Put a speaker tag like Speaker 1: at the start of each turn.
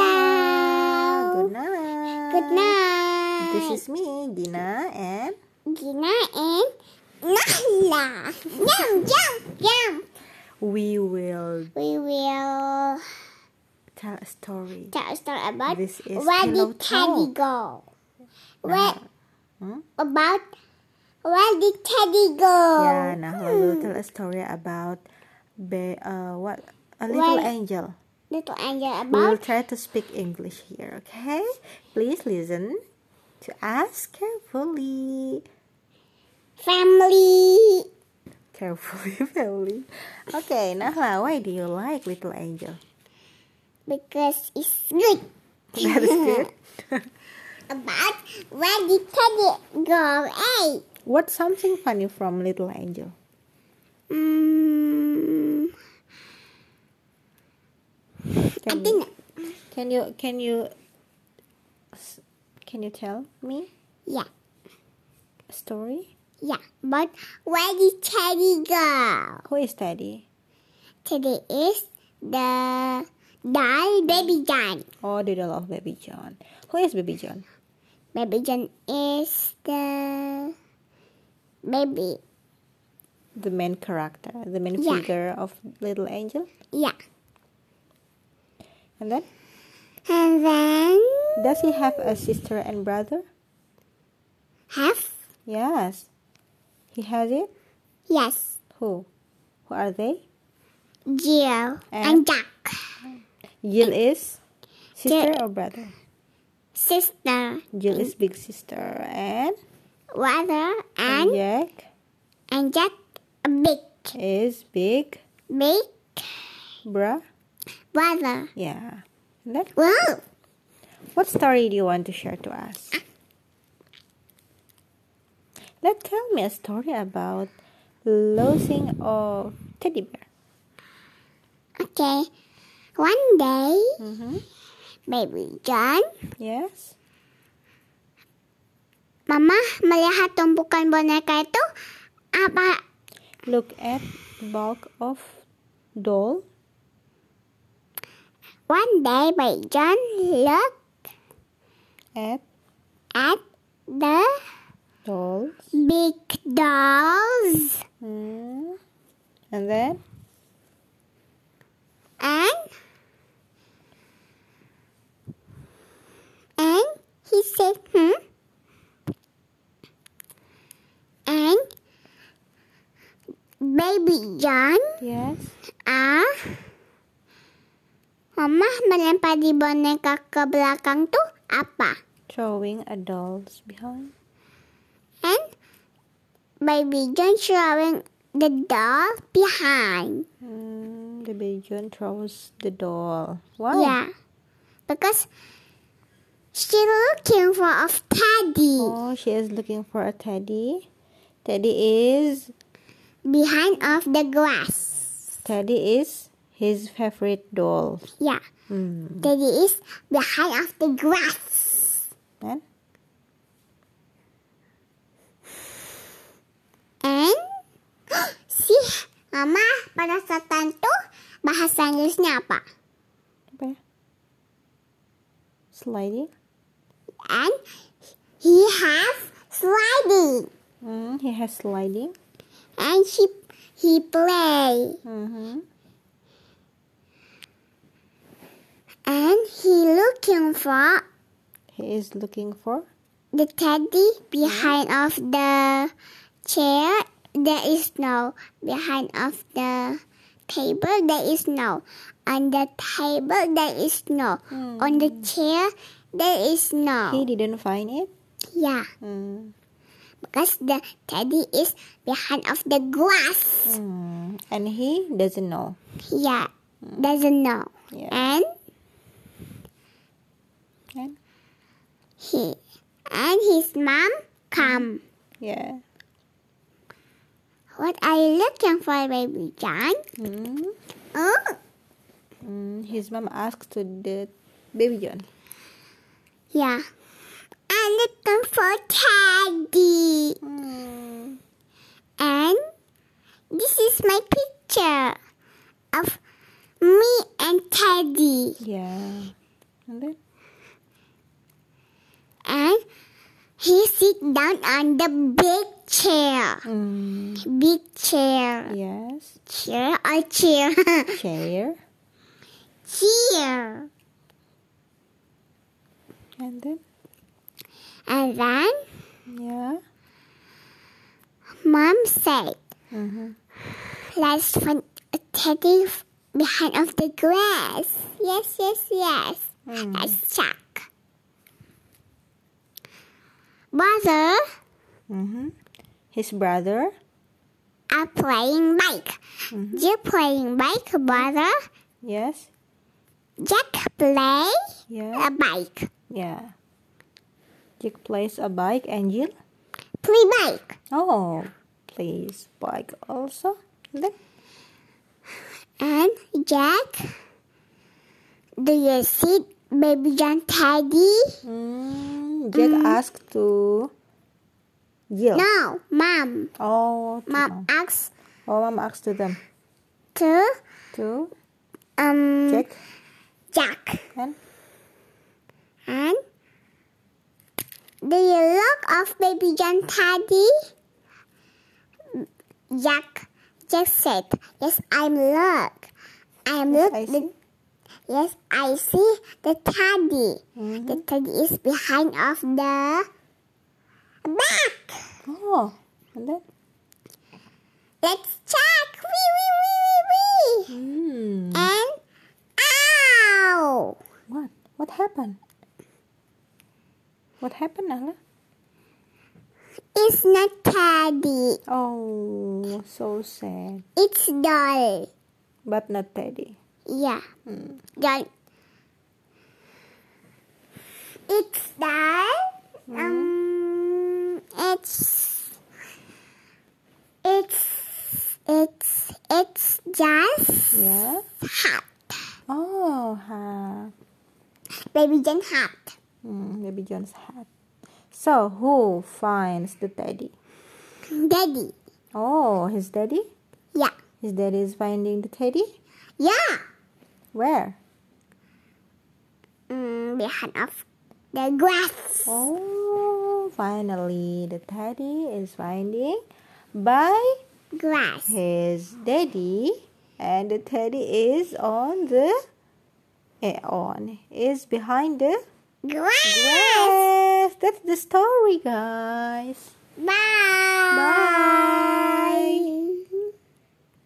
Speaker 1: Hello.
Speaker 2: Good night.
Speaker 1: Good night.
Speaker 2: This is me, Gina, and
Speaker 1: Gina and Nala. Yum, yum, yum.
Speaker 2: we will
Speaker 1: We will
Speaker 2: tell a story.
Speaker 1: tell a story about
Speaker 2: This is
Speaker 1: where
Speaker 2: Pillow
Speaker 1: did
Speaker 2: Uh,
Speaker 1: Teddy go? Where,
Speaker 2: Hmm?
Speaker 1: About where did Teddy go?
Speaker 2: Yeah, now we will tell a story about be, uh, what a little
Speaker 1: Well-
Speaker 2: angel.
Speaker 1: Little angel
Speaker 2: We will
Speaker 1: about
Speaker 2: try to speak English here, okay? Please listen to us carefully.
Speaker 1: family.
Speaker 2: Carefully, family. Okay, Nahla, why do you like Little Angel?
Speaker 1: because it's good.
Speaker 2: That is good.
Speaker 1: About where did Teddy go? Hey,
Speaker 2: What's something funny from Little Angel?
Speaker 1: mm, I
Speaker 2: Can you,
Speaker 1: think
Speaker 2: can you can you s- can you tell me
Speaker 1: yeah,
Speaker 2: a story?
Speaker 1: yeah. But where did Teddy go?
Speaker 2: Who is Teddy?
Speaker 1: Teddy is the doll baby John.
Speaker 2: Oh, the doll of Baby John. Who is Baby John?
Speaker 1: Baby John is the baby.
Speaker 2: The main character, the main
Speaker 1: Yeah.
Speaker 2: figure of Little Angel.
Speaker 1: Yeah,
Speaker 2: And then,
Speaker 1: and then
Speaker 2: does he have a sister and brother?
Speaker 1: have
Speaker 2: Yes, he has it.
Speaker 1: yes,
Speaker 2: Who? Who are they?
Speaker 1: Jill and, Jack
Speaker 2: Jill is sister
Speaker 1: Um, Jill-
Speaker 2: or brother.
Speaker 1: sister.
Speaker 2: Jill is big sister, and
Speaker 1: Weather and
Speaker 2: Jack
Speaker 1: and Jack a big
Speaker 2: is big
Speaker 1: big
Speaker 2: bra.
Speaker 1: brother.
Speaker 2: Yeah. And then,
Speaker 1: Wow.
Speaker 2: what story do you want to share to us? Let tell me a story about losing of teddy bear.
Speaker 1: Okay. One day,
Speaker 2: Mm-hmm.
Speaker 1: baby John,
Speaker 2: Yes.
Speaker 1: Mama melihat tumpukan boneka itu apa?
Speaker 2: Look at the bulk of doll.
Speaker 1: One day, baby John look
Speaker 2: At
Speaker 1: at the
Speaker 2: dolls.
Speaker 1: big dolls
Speaker 2: Mm. And then
Speaker 1: and and he said, hmm. And baby John
Speaker 2: yes.
Speaker 1: Ah, Mama melempar di boneka ke belakang tuh apa?
Speaker 2: Throwing a dolls behind.
Speaker 1: And baby John throwing the doll behind.
Speaker 2: Mm, the baby John throws the doll. Why?
Speaker 1: Yeah, because she looking for a teddy
Speaker 2: Oh, she is looking for a teddy. Teddy is
Speaker 1: behind of the grass.
Speaker 2: Teddy is his favorite doll.
Speaker 1: Yeah,
Speaker 2: Hmm.
Speaker 1: teddy is behind of the grass.
Speaker 2: Then
Speaker 1: And si Mama pada saat tuh bahasa Inggrisnya apa?
Speaker 2: apa ya? Sliding.
Speaker 1: and he has sliding
Speaker 2: Mm, he has sliding.
Speaker 1: and he he play
Speaker 2: Mm-hmm.
Speaker 1: and he looking for
Speaker 2: He is looking for
Speaker 1: the teddy behind
Speaker 2: Mm-hmm.
Speaker 1: of the chair there is no behind of the table there is no on the table there is no on
Speaker 2: Mm.
Speaker 1: the chair there is
Speaker 2: he
Speaker 1: no
Speaker 2: didn't find it.
Speaker 1: yeah
Speaker 2: Mm.
Speaker 1: because the teddy is behind of the grass
Speaker 2: Mm. And he doesn't know.
Speaker 1: yeah doesn't know
Speaker 2: Mm. Yeah.
Speaker 1: and
Speaker 2: And-
Speaker 1: he and his mom come.
Speaker 2: yeah.
Speaker 1: What are you looking for, baby John?
Speaker 2: Mm.
Speaker 1: Oh,
Speaker 2: Mm. His mom asked to the baby John.
Speaker 1: yeah. I'm looking for Teddy.
Speaker 2: Mm.
Speaker 1: And this is my picture of me and Teddy.
Speaker 2: Yeah. And then
Speaker 1: and he sit down on the big chair.
Speaker 2: mm,
Speaker 1: Big chair.
Speaker 2: yes,
Speaker 1: Chair or chair?
Speaker 2: chair.
Speaker 1: chair.
Speaker 2: And then
Speaker 1: And then
Speaker 2: yeah.
Speaker 1: mom said,
Speaker 2: Mm-hmm.
Speaker 1: let's find a teddy f- behind of the grass. Yes, yes, yes.
Speaker 2: Mm.
Speaker 1: Let's check. Mother
Speaker 2: Mm-hmm. His brother.
Speaker 1: are playing bike.
Speaker 2: Mm-hmm.
Speaker 1: You're playing bike, mother.
Speaker 2: Yes.
Speaker 1: Jack play a
Speaker 2: Yeah.
Speaker 1: bike.
Speaker 2: Yeah. Jack plays a bike and Jill.
Speaker 1: Play bike.
Speaker 2: Oh, plays bike also. And then
Speaker 1: And Jack, do you see baby John Teddy?
Speaker 2: mm, Jack asks to Jill.
Speaker 1: No, mom.
Speaker 2: Oh, to
Speaker 1: Mom
Speaker 2: mom.
Speaker 1: asks
Speaker 2: Oh, mom asks to them
Speaker 1: to
Speaker 2: to
Speaker 1: um
Speaker 2: Jack
Speaker 1: Jack.
Speaker 2: and
Speaker 1: And do you look of baby John Teddy? Jack Jack said, Yes I'm look. I'm look
Speaker 2: I
Speaker 1: the-
Speaker 2: see.
Speaker 1: yes I see the teddy.
Speaker 2: Mhm.
Speaker 1: The teddy is behind of the back.
Speaker 2: Oh, and then
Speaker 1: Let's check. Wee wee wee wee wee.
Speaker 2: Hmm.
Speaker 1: And ow!
Speaker 2: what? What happened? What happened, Nala?
Speaker 1: It's not teddy.
Speaker 2: Oh, so sad.
Speaker 1: It's doll.
Speaker 2: But not Teddy.
Speaker 1: Yeah.
Speaker 2: Hmm.
Speaker 1: Doll. It's doll. Um. It's. It's. It's. It's just
Speaker 2: Yeah.
Speaker 1: hot.
Speaker 2: Oh, ha.
Speaker 1: Baby Jane hot.
Speaker 2: Hmm, Baby John's hat. So, who finds the Teddy?
Speaker 1: Daddy.
Speaker 2: Oh, his daddy?
Speaker 1: Yeah.
Speaker 2: His daddy is finding the Teddy?
Speaker 1: Yeah.
Speaker 2: Where?
Speaker 1: Mm, behind of the grass.
Speaker 2: Oh, finally, the Teddy is finding by
Speaker 1: Grass.
Speaker 2: his daddy and the teddy is on the eh, on is behind the
Speaker 1: Grass.
Speaker 2: grass that's the story guys
Speaker 1: Bye.
Speaker 2: bye